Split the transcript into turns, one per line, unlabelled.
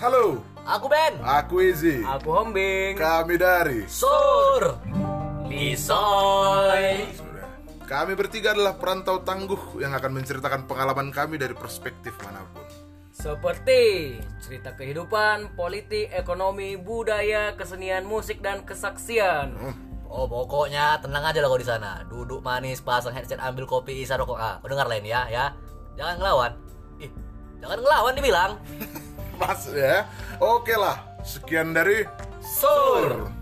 Halo,
Aku Ben.
aku Izzy.
Aku Hombing.
Kami dari
Sur. Lisoy.
Sudah. Kami bertiga adalah perantau tangguh yang akan menceritakan pengalaman kami dari perspektif manapun.
Seperti cerita kehidupan, politik, ekonomi, budaya, kesenian, musik dan kesaksian.
Oh pokoknya tenang aja lo kau di sana. Duduk manis, pasang headset, ambil kopi, isa rokok. Ah, kau dengar lain ya, ya. Jangan ngelawan. Ih, jangan ngelawan dibilang.
Mas ya. Oke lah, sekian dari
Sur.
Tur.